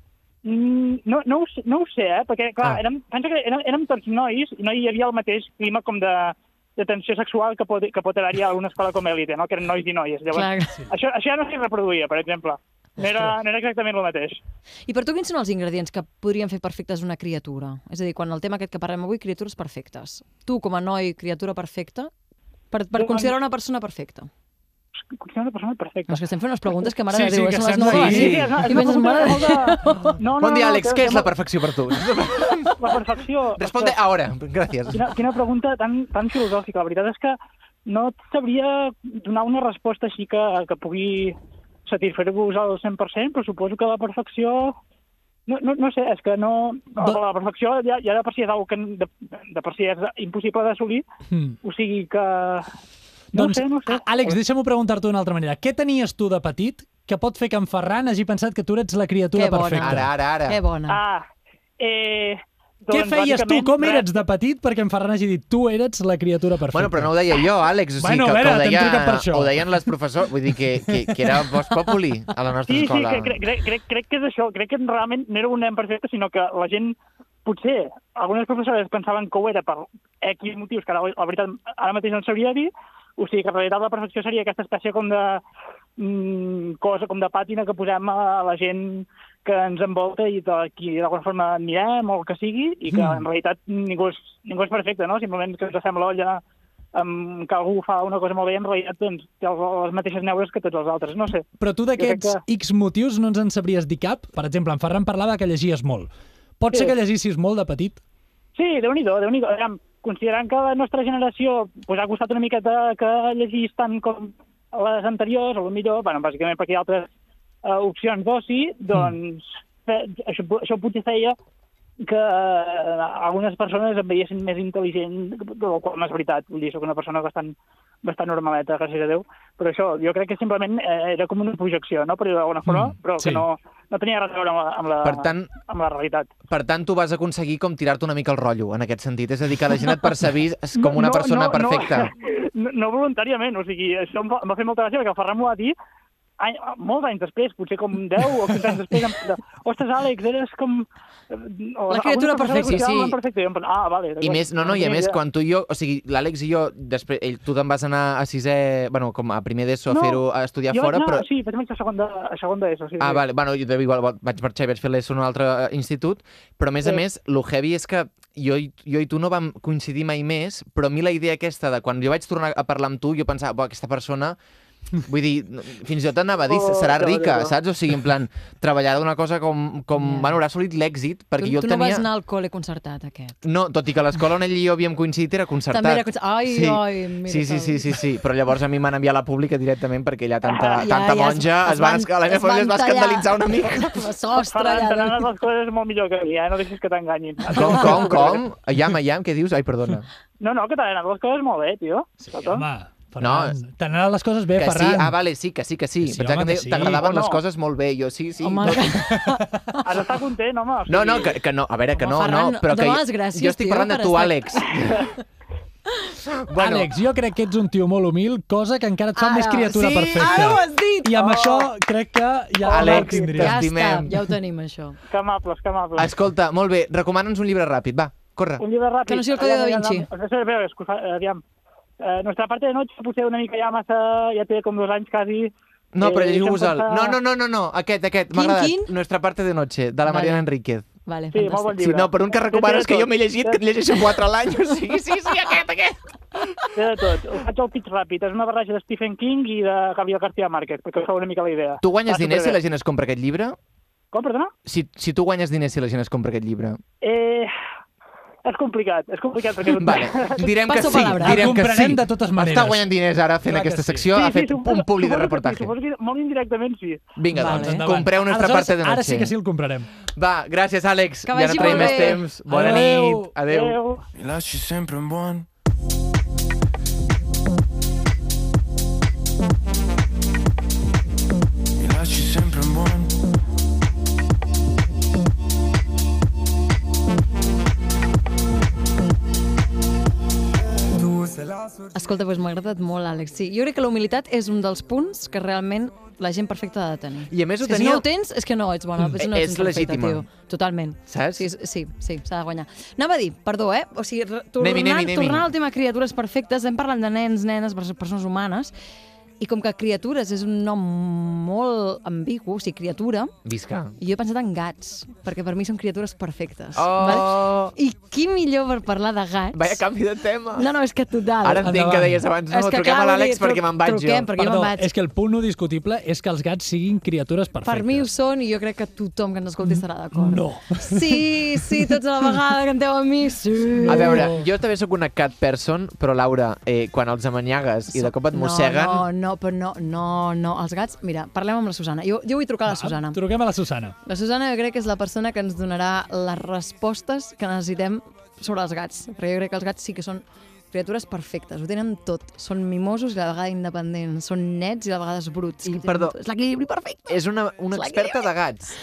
Mm, No, no, ho, sé- no ho sé, eh? perquè, clar,
Ah.
ah. érem, pensa que érem, érem tots nois i no hi havia el mateix clima com de de tensió sexual que pot, que pot haver-hi a una escola com Elite, no? que eren nois i noies. Llavors,
Clar.
això, això ja no s'hi reproduïa, per exemple. No era, no era exactament el mateix.
I per tu quins són els ingredients que podrien fer perfectes una criatura? És a dir, quan el tema aquest que parlem avui, criatures perfectes. Tu, com a noi, criatura perfecta, per, per
Bueno,
considerar una persona perfecta.
Considero una persona perfecta.
No, és que estem fent unes preguntes que, mare
Sí,
de
sí,
Déu,
que
són les
sembla-
9.
sí, sí,
és una- és
I
una
penses, mare de Déu,
pregunta molt de- No, no,
Bon dia,
no,
Àlex.
que-
Què és
que-
la perfecció per tu?
La perfecció...
Responde ahora. Gràcies.
Quina, quina pregunta tan, tan filosòfica. La veritat és que no et sabria donar una resposta així que, que pugui satisfer-vos al 100%, però suposo que la perfecció... No, no, no sé, és que no...
Do-
La perfecció ja, ja de per si és algo que de, de per si és impossible d'assolir,
Mm.
o sigui que... No
doncs,
ho sé, no ho sé.
A- Àlex, deixa'm preguntar-t'ho d'una altra manera. Què tenies tu de petit que pot fer que en Ferran hagi pensat que tu ets la criatura
Que bona.
perfecta?
Ara, ara, ara.
Que bona.
Ah, eh,
Què
doncs,
feies tu?
bàsicament,
Com
res.
eres de petit perquè en Ferran hagi dit tu eres la criatura perfecta?
Bueno, però no ho deia jo, Àlex. O sigui,
Bueno,
que,
a
que
veure,
ho,
t'hem
deia,
trucat per això.
ho deien les professors. Vull dir que, que, que era Vox Populi a la nostra
Sí, sí,
escola.
que, crec, crec, crec, crec que és això. Crec que realment no era un nen perfecte, sinó que la gent, potser, algunes professores pensaven que ho era per X motius, que ara, la veritat ara mateix no en sabria dir, o sigui que en realitat la perfecció seria aquesta espècie com de mm, cosa, com de pàtina que posem a la gent que ens envolta i de qui d'alguna forma mirem o el que sigui, i que
Mm.
en realitat ningú és, ningú és perfecte, no? Simplement que ens fem l'olla amb que algú fa una cosa molt bé, en realitat doncs, té les mateixes neures que tots els altres, no sé.
Però tu d'aquests
crec
X motius no ens en sabries dir cap? Per exemple, en Ferran parlava que llegies molt. Pot
Sí.
ser que llegissis molt de petit?
Sí, déu nhi déu nhi Considerant que la nostra generació pues, ha costat una miqueta que llegís tant com les anteriors, o millor, bueno, bàsicament perquè hi ha altres uh, opcions d'oci, doncs fe, això, po- això potser feia que uh, algunes persones em veiessin més intel·ligent, del qual no és veritat, vull dir, soc una persona bastant, bastant normaleta, gràcies a Déu, però això, jo crec que simplement eh, era com una projecció, no?, per dir-ho d'alguna forma,
Mm,
però
sí.
que no, no tenia res a veure amb la, amb la,
Per tant,
amb la realitat.
per tant, tu vas aconseguir com tirar-te una mica el rotllo, en aquest sentit. És a dir, que la gent et percebís com una persona perfecta.
No, no, no voluntàriament, o sigui, això em va, em va fer molta gràcia perquè el Ferran m'ho va dir any, molts anys després, potser com 10 o 15 anys després, em, de, ostres, Àlex, eres com... eh, O,
La criatura
alguna persona
perfecta,
que considerava
sí.
Perfecta. I em pensava, ah, vale.
I més, no, no, i a més, quan tu i jo, o sigui, l'Àlex i jo, després, ell, tu te'n vas anar a sisè, bueno, com a primer d'ESO a
No,
fer-ho, a estudiar
jo,
fora,
no,
però...
Sí, vaig marxar a segon de, a segon d'ESO. Sí,
Ah,
sí.
vale. Bueno, jo de- igual vaig marxar i vaig fer l'ESO en un altre eh, institut, però a més a
Sí.
més, lo heavy és que jo, i- jo i tu no vam coincidir mai més, però a mi la idea aquesta de quan jo vaig tornar a parlar amb tu, jo pensava, bo, aquesta persona... Vull dir, no- fins i tot anava a dir,
Oh,
serà
que
rica,
valor.
saps? O sigui, en plan, treballar d'una cosa com... com
Ja.
Bueno, haurà assolit l'èxit, perquè
tu,
jo
tu
el
no vas
tenia...
anar al col·le concertat, aquest.
No, tot i que l'escola on ell i jo havíem coincidit era concertat.
També era concertat. Ai, ai, mira,
sí, sí,
tal.
sí, sí, sí, però llavors a mi m'han enviat a la pública directament perquè allà tanta,
Ja,
tanta
ja es-
monja
es
es, van,
van-
esca- la meva
es van
família es va
tallar.
escandalitzar una mica.
La sostra,
Ferran, te
allà.
n'han anat les coses molt millor que a mi, eh? no deixis que t'enganyin.
Com, com, com? Iam, iam, què dius? Ai, perdona.
No, no, que t'han anat les coses molt bé, tio. Sí,
Home, Ferran, no. t'han anat les coses bé,
Que sí,
Ferran.
ah, vale, sí, que sí, que sí.
Que sí,
Pensava
home,
que
que sí.
t'agradaven
O no.
les coses molt bé, jo sí, sí.
Home,
no,
Has d'estar content, home. o sigui-
no, no, que, que no, a veure, que
Home,
no,
Ferran,
no, però que
dones
jo-
gràcies,
jo estic
tio,
parlant de
per
tu,
estar-
Àlex.
Bueno. Àlex, jo crec que ets un tio molt humil, cosa que encara et fa
Ara,
més criatura
sí,
perfecta.
ara ho has dit! Oh.
I amb això crec que ja
Àlex,
ho
Ja
tindries.
t'has- T'estimem.
està, ja ho tenim, això.
Que amables, que amables.
escolta, molt bé, recomana'ns un llibre ràpid, va, corre.
Un llibre ràpid.
Que no sigui el Codi da
Aviam,
Vinci.
aviam, aviam, aviam, aviam, escolta, aviam. Eh, nostra parte de noche potser una mica eh, ja massa... Ja té com dos anys quasi.
No, però
Eh,
llegiu-vos-el.
deixa'm
No,
pensar-
no, no, no, no, aquest, aquest,
Quin,
m'ha agradat.
quin?
Nuestra parte de noche, de la Mariana
Vale.
Enríquez.
Vale,
Sí, molt bon
fantàstic.
Sí,
llibre.
no, però un que recomanes que jo m'he llegit, que et llegeixo quatre a l'any, o sigui, sí, sí, aquest, aquest.
Té de tot. Ho faig al pitch ràpid. És una barreja de Stephen King i de Gabriel García Márquez, perquè us fa una mica la idea.
Ah, Tu guanyes
Està
diners si
superbé.
la gent es compra aquest llibre?
Com, perdona?
Si, si tu guanyes diners si la gent es compra aquest llibre.
Eh... És complicat, és complicat perquè... és un-
Vale, direm que
Passo
sí,
palabra.
direm
El
que sí.
comprarem de totes maneres.
Està guanyant diners ara fent
Clar que
aquesta
sí.
secció, ha fet
suposo-
un publi de
suposo que sí,
reportatge.
Suposo que molt indirectament sí.
Vinga,
Vale.
doncs,
Endavant.
compreu nuestra
Aleshores,
parte de noche.
Ara sí que sí el comprarem.
Va, gràcies, Àlex.
Que
ja
vagi
no traiem
molt
més
bé.
temps. Bona
Adeu.
nit. Adéu.
Adéu.
Mi lasci sempre un buon. Mi lasci sempre un buon.
Es Escolta, doncs m'ha agradat molt, Àlex. Sí, jo crec que la humilitat és un dels punts que realment la gent perfecta ha de tenir.
I a més ho
si,
tenia-
si no ho tens, és que no ets bona. Mm. No
Eh,
ets
és
un perfecte,
legítima.
Tio. Totalment.
Saps?
Sí, sí, sí, s'ha de guanyar. Anava a dir, perdó, eh? O sigui, re- tornant,
Anem-hi, anem-hi, anem-hi.
tornant al tema criatures perfectes, hem parlat de nens, nenes, pers- persones humanes, i com que criatures és un nom molt ambigu, o sigui, criatura,
Visca.
jo he pensat en gats, perquè per mi són criatures perfectes.
Oh.
val? I qui millor per parlar de gats?
Vaya canvi de tema.
No, no, és que total.
Ara entenc que
Endavant.
deies abans, no,
És que,
truquem
clar,
a l'Àlex
vull dir,
perquè me'n vaig
truquem,
jo.
perquè jo
Perdó,
me'n vaig.
és que el punt no discutible és que els gats siguin criatures perfectes.
Per mi ho són i jo crec que tothom que ens escolti estarà d'acord.
No.
Sí, sí, tots a la vegada canteu amb mi. Sí.
A veure,
Uh.
jo també sóc una cat person, però Laura, eh, quan els amanyagues i de cop et mosseguen...
No, no, no, però no, no, no. Els gats, mira, parlem amb la Susana. Jo, jo vull trucar a la Susana.
Truquem a la Susana.
La Susana jo crec que és la persona que ens donarà les respostes que necessitem sobre els gats. Perquè jo crec que els gats sí que són criatures perfectes, ho tenen tot. Són mimosos i a la vegada independents, són nets i a vegades bruts.
I,
Ho tenen
perdó.
tot. És l'equilibri perfecte.
És una, una
És la
experta de gats.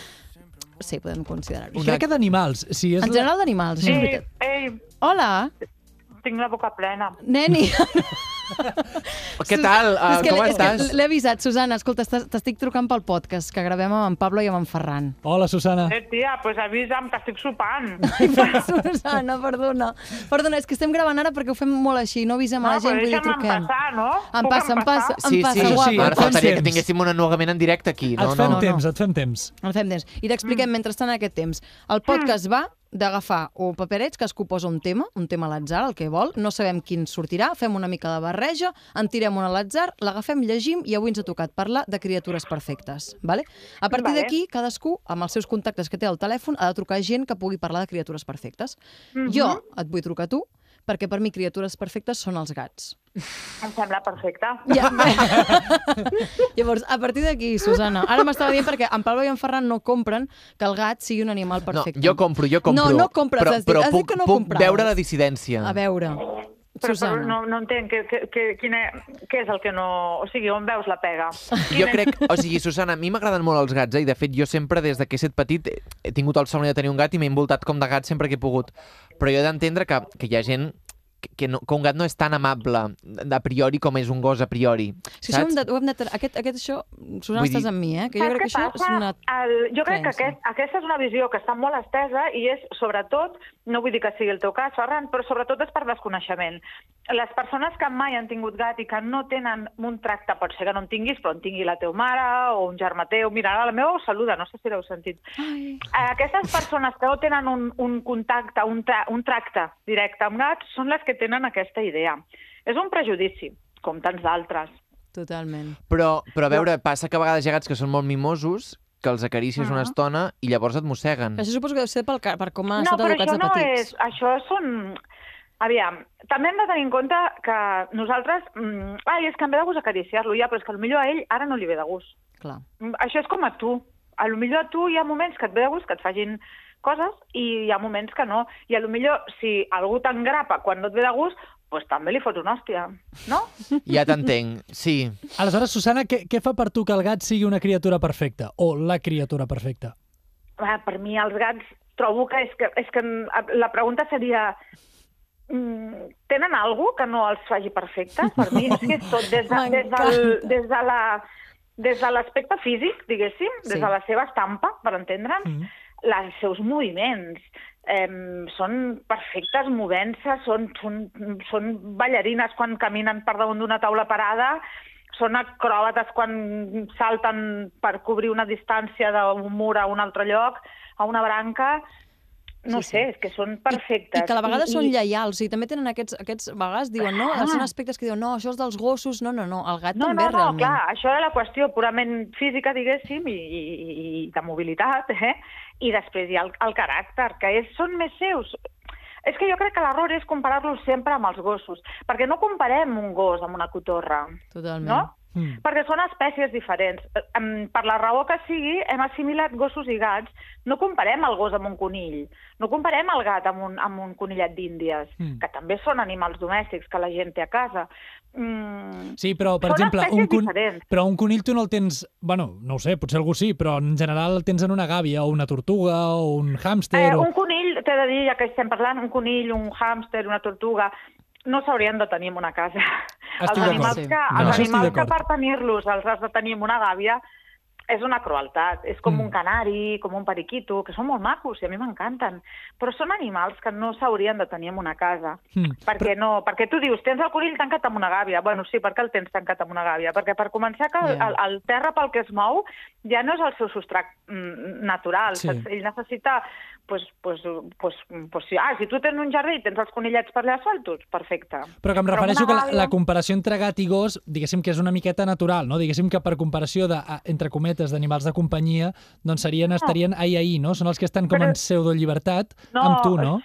Sí, podem considerar-ho.
Una-
Crec que d'animals. Si és
En general d'animals, això és
Ei,
veritat.
ei,
Hola,
Eh, tinc la boca plena.
neni.
Què tal?
És
Uh,
que
com
l'he- és que
estàs?
L'he avisat, Susana. Escolta, estàs- t'estic trucant pel podcast que gravem amb en Pablo i amb en Ferran.
La... Hola, Susana.
Eh, tia, pues avisa'm que estic sopant.
Ai, per Susana, perdona. Perdona, és que estem gravant ara perquè ho fem molt així, no avisem a la
No,
gent,
però
vull dir,
deixa'm
truquem.
empassar, no?
Em
Puc
passa, em
empassar?
passa, em passa,
sí,
guapo.
sí,
Ara
et fan
faltaria que
temps.
tinguéssim un ennuegament en directe aquí. No,
et fem
no.
temps, et fem temps.
El fem temps. I t'expliquem mentrestant aquest temps. El podcast va d'agafar o paperets, que es posa un tema, un tema a l'atzar, el que vol, no sabem quin sortirà, fem una mica de barreja, en tirem un a l'atzar, l'agafem, llegim i avui ens ha tocat parlar de criatures perfectes. Vale? A partir
Vale.
d'aquí, cadascú, amb els seus contactes que té al telèfon, ha de trucar gent que pugui parlar de criatures perfectes. Jo et vull trucar a tu, perquè per mi criatures perfectes són els gats.
Em sembla perfecte.
Ja. Llavors, a partir d'aquí, Susana, ara m'estava dient perquè en Pablo i en Ferran no compren que el gat sigui un animal
No,
perfecte.
jo compro, jo compro.
No, no compres,
però,
has dit-
però
has dit
puc,
que no
puc
compraves.
veure la dissidència.
A veure,
Però, però
Susana.
no, no entenc que, que, que, quina, què és el que no... O sigui, on veus la pega?
Jo crec, o sigui, Susana, a mi m'agraden molt els gats, eh? i de fet jo sempre, des de que he set petit, he- he tingut el somni de tenir un gat i m'he envoltat com de gats sempre que he pogut. Però jo he d'entendre que, que hi ha gent que, que, no, que un gat no és tan amable a priori com és un gos a priori.
Si això ho hem de, ho hem de, tra- aquest, aquest això, Susana,
Vull
estàs
dir-
amb mi, eh? Que jo
Saps
crec
què
que això és
passa? Ah.
una...
El, jo crec que
creença.
aquest, aquesta és una visió que està molt estesa i és, sobretot, no vull dir que sigui el teu cas, Ferran, però sobretot és per desconeixement. Les persones que mai han tingut gat i que no tenen un tracte, pot ser que no en tinguis, però en tingui la teva mare o un germà teu, mira, ara la meva us saluda, no sé si l'heu sentit.
Ai,
Eh, Aquestes persones que no tenen un, un contacte, un, tra un tracte directe amb gats, són les que tenen aquesta idea. És un prejudici, com tants d'altres.
totalment.
Però, però a veure, passa que a vegades hi ha gats que són molt mimosos, que els acaricies
Ah.
una estona i llavors et mosseguen.
Això suposo que deu ser pel, ca- per com han
No,
estat
però
educats
això
Ah, de
no
petits.
és... Això són... Aviam, també hem de tenir en compte que nosaltres... Mm, ai, és que em ve de gust acariciar-lo ja, però és que potser a ell ara no li ve de gust.
Clar.
Mm, Això és com a tu. A lo millor a tu hi ha moments que et ve de gust que et facin coses i hi ha moments que no. I a lo millor si algú t'engrapa quan no et ve de gust, doncs també li fots una hòstia, no?
Ja t'entenc, sí.
Aleshores, Susana, què, què fa per tu que el gat sigui una criatura perfecta? O la criatura perfecta?
Ah, per mi els gats trobo que és que, és que mm, la pregunta seria mm, tenen algú que no els faci perfectes? Per mi és que és tot des de, des del,
M'encanta.
des de la des de l'aspecte físic, diguéssim, des
Sí.
de la seva estampa, per entendre'ns,
Mm.
mm. els seus moviments eh, són perfectes movent-se, són, són, són ballarines quan caminen per damunt d'una taula parada, són acròbates quan salten per cobrir una distància d'un mur a un altre lloc, a una branca... No
Sí, sí.
sí, sé, és que són
I
perfectes.
que a la vegada són lleials i també tenen aquests, aquests a vegades diuen, no,
Ah.
són aspectes que diuen, no, això és dels gossos, no, no, no, el gat
No,
també
no, no,
realment.
clar, això era la qüestió purament física, diguéssim, i, i, i i de mobilitat, eh? I després hi ha el, el caràcter, que és, són més seus. És que jo crec que l'error és comparar-los sempre amb els gossos, perquè no comparem un gos amb una cotorra,
Totalment.
no?
Mm.
Perquè són espècies diferents. Eh, em- Per la raó que sigui, hem assimilat gossos i gats. No comparem el gos amb un conill, no comparem el gat amb un, amb un conillet d'índies,
Mm.
que també són animals domèstics que la gent té a casa. Mm,
Sí, però, per
Són
exemple, un,
espècies
con...
diferents.
però un conill tu no el tens... Bueno, no ho sé, potser algú sí, però en general el tens en una gàbia, o una tortuga, o un hàmster...
Eh,
o...
un conill, t'he de dir, ja que estem parlant, un conill, un hàmster, una tortuga,
no s'haurien de tenir en una casa.
Estic
els
d'acord.
animals
Sí.
que,
No,
els
això estic
animals que
d'acord.
per tenir-los els has de tenir en una gàbia és una crueltat. És com
Mm.
un canari, com un periquito, que són molt macos i a mi m'encanten, però són animals que no s'haurien de tenir en una casa.
Mm.
Perquè no, perquè tu dius, tens el conill tancat amb una gàbia. Bueno, sí, perquè el tens tancat amb una gàbia? Perquè per començar que el,
Ja.
el, el terra pel que es mou ja no és el seu substrat mm, natural.
Sí.
Sí. Ell necessita, pues, pues, pues, pues, sí. ah, si tu tens un jardí i tens els conillets per allà soltos, perfecte.
Però que em refereixo
una
que la,
gàbia-
la comparació entre gat i gos, diguéssim que és una miqueta natural, no? Diguéssim que per comparació, de, a- entre cometes, d'animals de companyia, doncs serien, estarien ahir ahir, no? Són els que estan com
Però-
en pseudo-llibertat
No,
amb tu, no?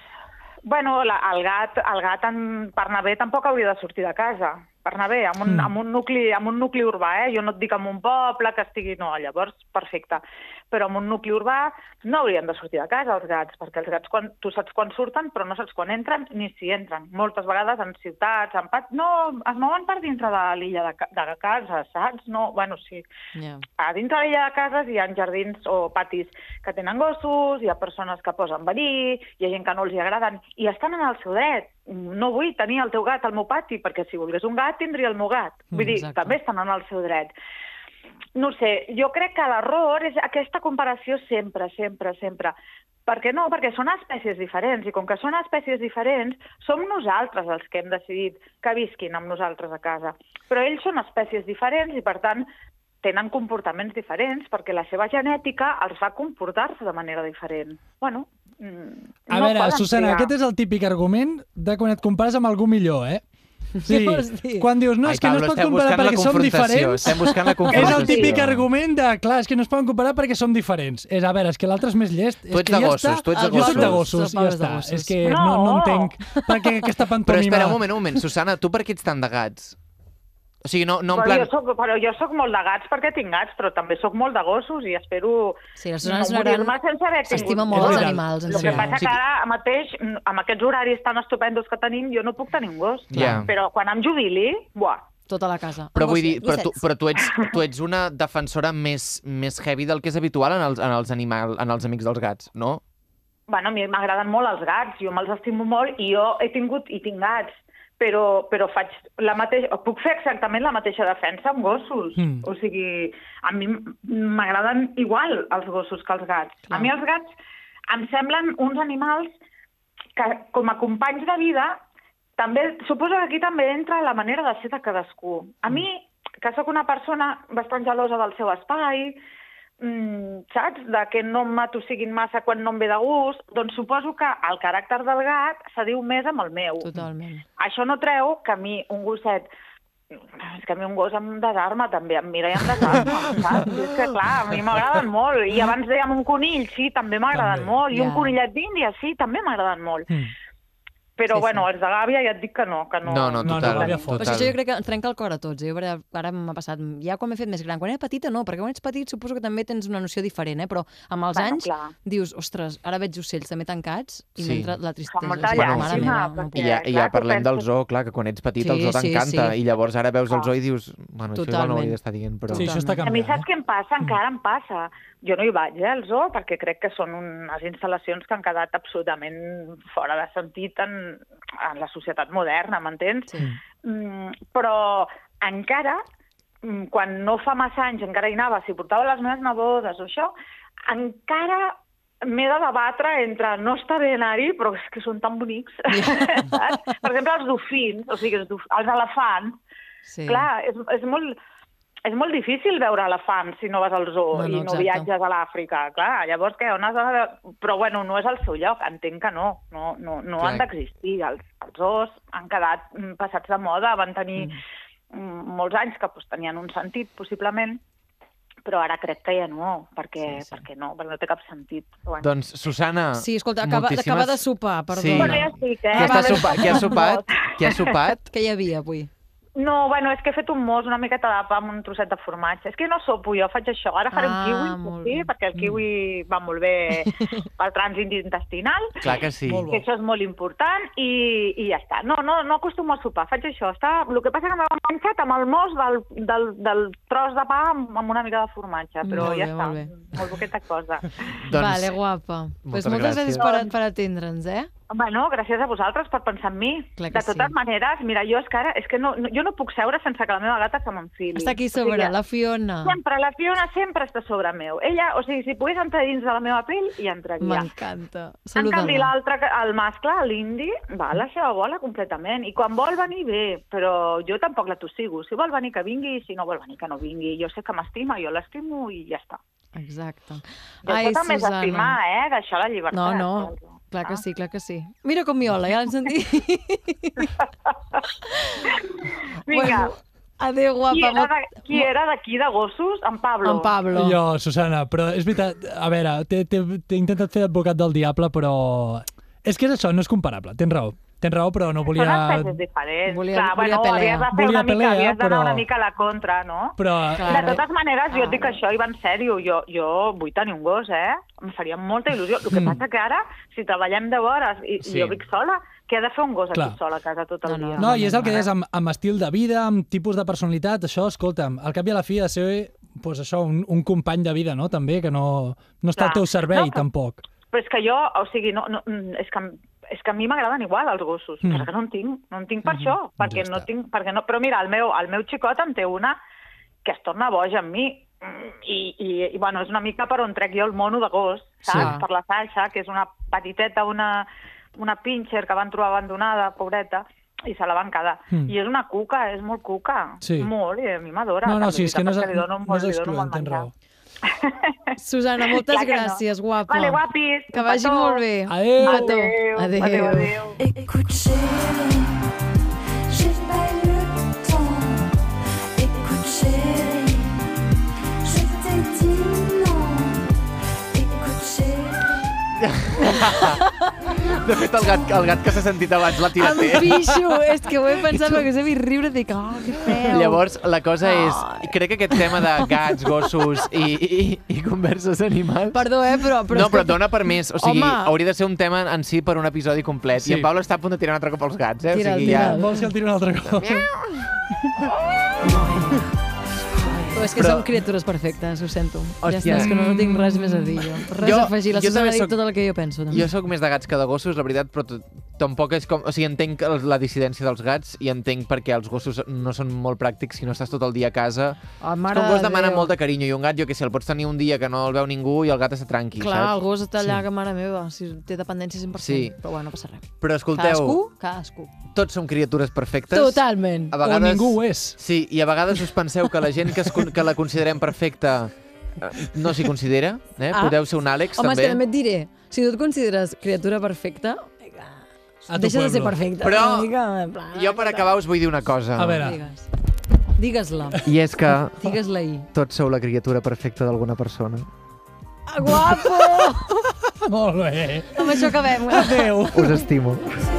Bueno, la, el gat, el gat en, per anar bé tampoc hauria de sortir de casa. Per anar bé, amb un,
Mm.
mm. amb un, nucli, amb un nucli urbà, eh? Jo no et dic amb un poble que estigui... No, llavors, perfecte. Però amb un nucli urbà no haurien de sortir de casa els gats, perquè els gats quan, tu saps quan surten, però no saps quan entren ni si entren. Moltes vegades en ciutats, en pat... No, es mouen per dintre de l'illa de, ca- de casa, saps? No, bueno, sí
Yeah.
a dintre de l'illa de cases hi ha jardins o patis que tenen gossos, hi ha persones que posen verí, hi ha gent que no els hi agraden, i estan en el seu dret. No vull tenir el teu gat al meu pati, perquè si volgués un gat, tindria el meu gat. Vull dir,
Mm, Exacte.
també estan en el seu dret. No ho sé, jo crec que l'error és aquesta comparació sempre, sempre, sempre. Per què no? Perquè són espècies diferents, i com que són espècies diferents, som nosaltres els que hem decidit que visquin amb nosaltres a casa. Però ells són espècies diferents i, per tant, tenen comportaments diferents perquè la seva genètica els fa comportar-se de manera diferent. Bueno, mm,
A
no
veure,
poden
Susana,
triar.
aquest és el típic argument de quan et compares amb algú millor, eh? Sí,
Què vols dir?
quan dius, no,
Ai,
és que no es
Pablo,
pot
estem
comparar
buscant la
perquè som
confrontació,
diferents,
Estem buscant la
és
confrontació.
el típic argument de, clar, és que no es poden comparar perquè som diferents. És, a veure, és que l'altre és més llest.
Tu
és
ets
que
de
ja
gossos,
està.
tu ets de
Jo soc de
gossos.
gossos,
Pablo
ja
és de
està.
gossos.
És que no, no,
No.
entenc per què aquesta pantomima...
Però espera un moment, un moment. Susana, tu per què ets tan de gats? O sigui, no, no en
Però,
plan...
jo soc, però jo sóc molt de gats perquè tinc gats, però també sóc molt de gossos i espero
Sí, la Susana és una
no
gran...
morir-me sense haver
S'estima
tingut
molt
És
els
veritat.
animals, en
El que
Sí.
passa
Sí.
que ara mateix, mm, amb aquests horaris tan estupendos que tenim, jo no puc tenir un gos.
Ja.
Però quan em jubili, buah,
Tota la casa.
Però
Ah,
vull dir, però
gossets,
tu,
gossets.
però tu, ets, tu ets una defensora més, més heavy del que és habitual en els, en els, animal, en els amics dels gats, no?
bueno, a mi m'agraden molt els gats, jo me'ls estimo molt i jo he tingut i tinc gats, però, però faig la mateixa, puc fer exactament la mateixa defensa amb gossos.
Mm.
Mm. O sigui, a mi m- m'agraden igual els gossos que els gats. Clar. A mi els gats em semblen uns animals que com a companys de vida també, suposo que aquí també entra la manera de ser de cadascú. A mi, que sóc una persona bastant gelosa del seu espai, mm, saps? De que no em matossiguin massa quan no em ve de gust, doncs suposo que el caràcter del gat s'adiu més amb el meu.
Totalment.
Això no treu que a mi un gosset és que a mi un gos em desarma també, em mira i em desarma, saps? És que clar, a mi m'agraden molt, i abans dèiem un conill, sí, també m'agraden
També.
molt, i un
Ja.
conillet d'Índia, sí, també m'agraden molt.
Mm.
Sí,
Però
sí.
bueno, els de gàbia ja et dic que no, que no...
No, no,
No, no,
total.
l'havia fot.
Però
total.
això jo crec que ens trenca el cor a tots. Eh? Jo ara, ara m'ha passat, ja quan m'he fet més gran, quan era petita no, perquè quan ets petit suposo que també tens una noció diferent, eh? però amb els
Bueno,
anys
clar.
dius, ostres, ara veig ocells també tancats i
Sí.
m'entra la
Fa
tristesa.
molta
O sigui,
Bueno,
llàstima,
mare
sí.
meva, no
perquè,
I ja, i ja
clar, tu
parlem del
penses-
zoo, clar, que quan ets petit
Sí,
el zoo
sí,
t'encanta
sí.
i llavors ara veus el zoo i dius, bueno, això igual no ho
Totalment.
hauria d'estar dient, però...
Sí, això està
A mi
canviant.
saps què em passa? Encara em passa. Jo no hi vaig, eh, al zoo, perquè crec que són unes instal·lacions que han quedat absolutament fora de sentit en, en la societat moderna, m'entens?
Sí.
Mm, però encara, mm, quan no fa massa anys encara hi anava, si portava les meves nebodes o això, encara m'he de debatre entre no està bé anar-hi, però és que són tan bonics. saps? per exemple, els dofins, o sigui, els, dof els elefants,
Sí.
Clar, és, és molt... És molt difícil veure elefants si no vas al zoo
No, no,
i no
exacte.
viatges a l'Àfrica. Clar, llavors què? On has de... Però bueno, no és el seu lloc, entenc que no. No, no, no
Clar.
han d'existir. Els, els zoos han quedat mm, passats de moda, van tenir mm. molts anys que pues, tenien un sentit, possiblement, però ara crec que ja no, perquè,
Sí,
sí,
sí.
sí. perquè no, perquè no té cap sentit. Bueno.
Doncs, Susana...
Sí, escolta, acaba,
moltíssimes-
acaba de sopar, perdona.
Sí.
Bueno, ja estic, eh?
Qui, està
Va bé.
sopa... qui ha sopat? Qui ha sopat?
Què hi havia avui?
No, bueno, és que he fet un mos, una miqueta de pa amb un trosset de formatge. És que no sopo jo, faig això. Ara faré
Ah,
un kiwi,
molt
sí,
bé.
perquè el kiwi va molt bé pel trànsit intestinal,
Clar que sí.
Molt bo.
que això és molt important, i, i ja està. No, no, no acostumo a sopar, faig això. Està... El que passa que m'ha enganxat amb el mos del, del, del tros de pa amb, amb una mica de formatge, però
Molt bé,
ja està.
molt bé.
Molt poqueta cosa.
Doncs,
Vale, guapa. Doncs
moltes
pues moltes gràcies,
gràcies.
per, per atendre'ns, eh?
Bueno, gràcies a vosaltres per pensar en mi.
Clar que
de totes
sí.
maneres, mira, jo és que ara... És que no, no, jo no puc seure sense que la meva gata se m'enfili.
Està aquí a
O sigui,
sobre, la Fiona.
Sempre, la Fiona sempre està sobre meu. Ella, o sigui, si pogués entrar dins de la meva pell, hi entraria.
M'encanta.
En canvi,
Saluda-la.
l'altre, que- el mascle, l'indi, va a la seva bola completament. I quan vol venir, bé, però jo tampoc la tossigo. Si vol venir, que vingui, si no vol venir, que no vingui. Jo sé que m'estima, jo l'estimo i ja està.
Exacte.
Jo Ai, també és estimar, eh? doncs. Deixar la llibertat.
No, no, clar
Ah.
que sí, clar que sí. Mira com miola, ja l'han sentit.
Vinga,
Bueno, adéu,
qui
guapa.
era
molt-
de- qui era d'aquí de gossos? En Pablo.
En Pablo.
Jo, Susana, però és veritat, a veure, t'he- t'he t'he intentat fer advocat del diable, però... És que és això, no és comparable, tens raó. Tens raó, però no
Volia... Són
volia...
espècies diferents.
Volia-
Clar,
volia
bueno,
pelea.
havies de fer
Volia
una mica,
pelea,
havies d'anar
però-
una mica a la contra, no?
Però
De
Clar. Ah. Ara-
totes maneres, jo et dic
ara.
això i va en sèrio. Jo, jo vull tenir un gos, eh? Em faria molta il·lusió. El que
Mm.
passa que ara, si treballem de hores i,
Sí.
i jo vic sola, què ha de fer un gos
Clar.
aquí sola a casa tot el
No, no,
dia?
No, i és el que
Ara-
deies, amb, amb estil de vida, amb tipus de personalitat, això, escolta'm, al cap i a la fi ha de ser pues això, un, un company de vida, no?, també, que no, no està al
Clar.
teu servei,
No, però-
tampoc.
Però és que jo, o sigui, no, no, mm, és que és que a mi m'agraden igual els gossos,
Mm. Mm-hmm.
mm. però és que no en tinc, no en tinc per això, perquè
ja
no
està.
tinc, perquè no, però mira, el meu, el meu xicot en té una que es torna boja amb mi, mm, i, i, i bueno, és una mica per on trec jo el mono de gos, saps?
Sí.
Per la salsa, que és una petiteta, una, una pincher que van trobar abandonada, pobreta, i se la van quedar.
Mm.
Mm. I és una cuca, és molt cuca,
Sí.
molt, i a mi m'adora.
No, no,
també,
sí, és que no és,
perquè li dono
no
molt-
és
li dono
excloent,
molt
tens
menjar.
raó.
Susana, moltes
Clar que no.
gràcies, guapa.
Vale, guapis,
Que vagi
petó.
molt bé.
Adéu.
Un petó.
Adéu, adéu, adéu.
Écoute, chérie, j'ai pas le temps. Écoute, chérie, je t'ai dit non. Écoute, chérie.
De fet, el gat, el gat que s'ha sentit abans l'ha tirat
Em
ell.
pixo, és que ho he pensat perquè s'ha vist riure, dic, oh, que feu.
Llavors, la cosa és... Crec que aquest tema de gats, gossos i, i, i converses animals...
Perdó, eh, però... però
no, però
és que-
et dona per més. O sigui,
Home.
hauria de ser un tema en si per un episodi complet.
Sí.
I en Pablo està a punt de tirar un altre cop als gats, eh?
Tira'l,
o sigui,
tira'l.
Vols que el tiri un altre cop?
Però és que
Però-
som criatures perfectes, ho sento.
Hòstia.
Ja està, és que no, no tinc res més a dir jo. Res
Jo-
a afegir. La
jo
Susana
també
ha dit
soc-
tot el que jo penso. També.
Jo sóc més de gats que de gossos, la veritat, però t- tampoc és com... O sigui, entenc el- la dissidència dels gats i entenc perquè els gossos no són molt pràctics si no estàs tot el dia a casa.
Oh,
És que un gos demana molt de carinyo i un gat, jo què sé, el pots tenir un dia que no el veu ningú i el gat està tranqui,
Clar, el
saps?
gos està allà, que mare meva, si té dependència 100%,
Sí.
però bueno, no passa res.
Però escolteu,
Cadascú, cadascú.
tots som criatures perfectes.
Totalment.
A
O
vegades...
ningú ho és.
Sí, i a vegades us penseu que la gent que, es, con- que la considerem perfecta eh, no s'hi considera, eh?
Ah.
Podeu ser un Àlex,
Home, és que
també.
també et diré, si tu et consideres criatura perfecta,
A tu
deixes de ser
pueblo.
perfecta.
Però
una mica, en plan,
Jo, per acabar, us vull dir una cosa.
A veure,
Digues. Digues-la.
I és que
Digues-la ahir.
tots sou la criatura perfecta d'alguna persona.
Ah, guapo!
Ah, molt bé.
Amb això acabem.
Adéu.
Us estimo.
J'ai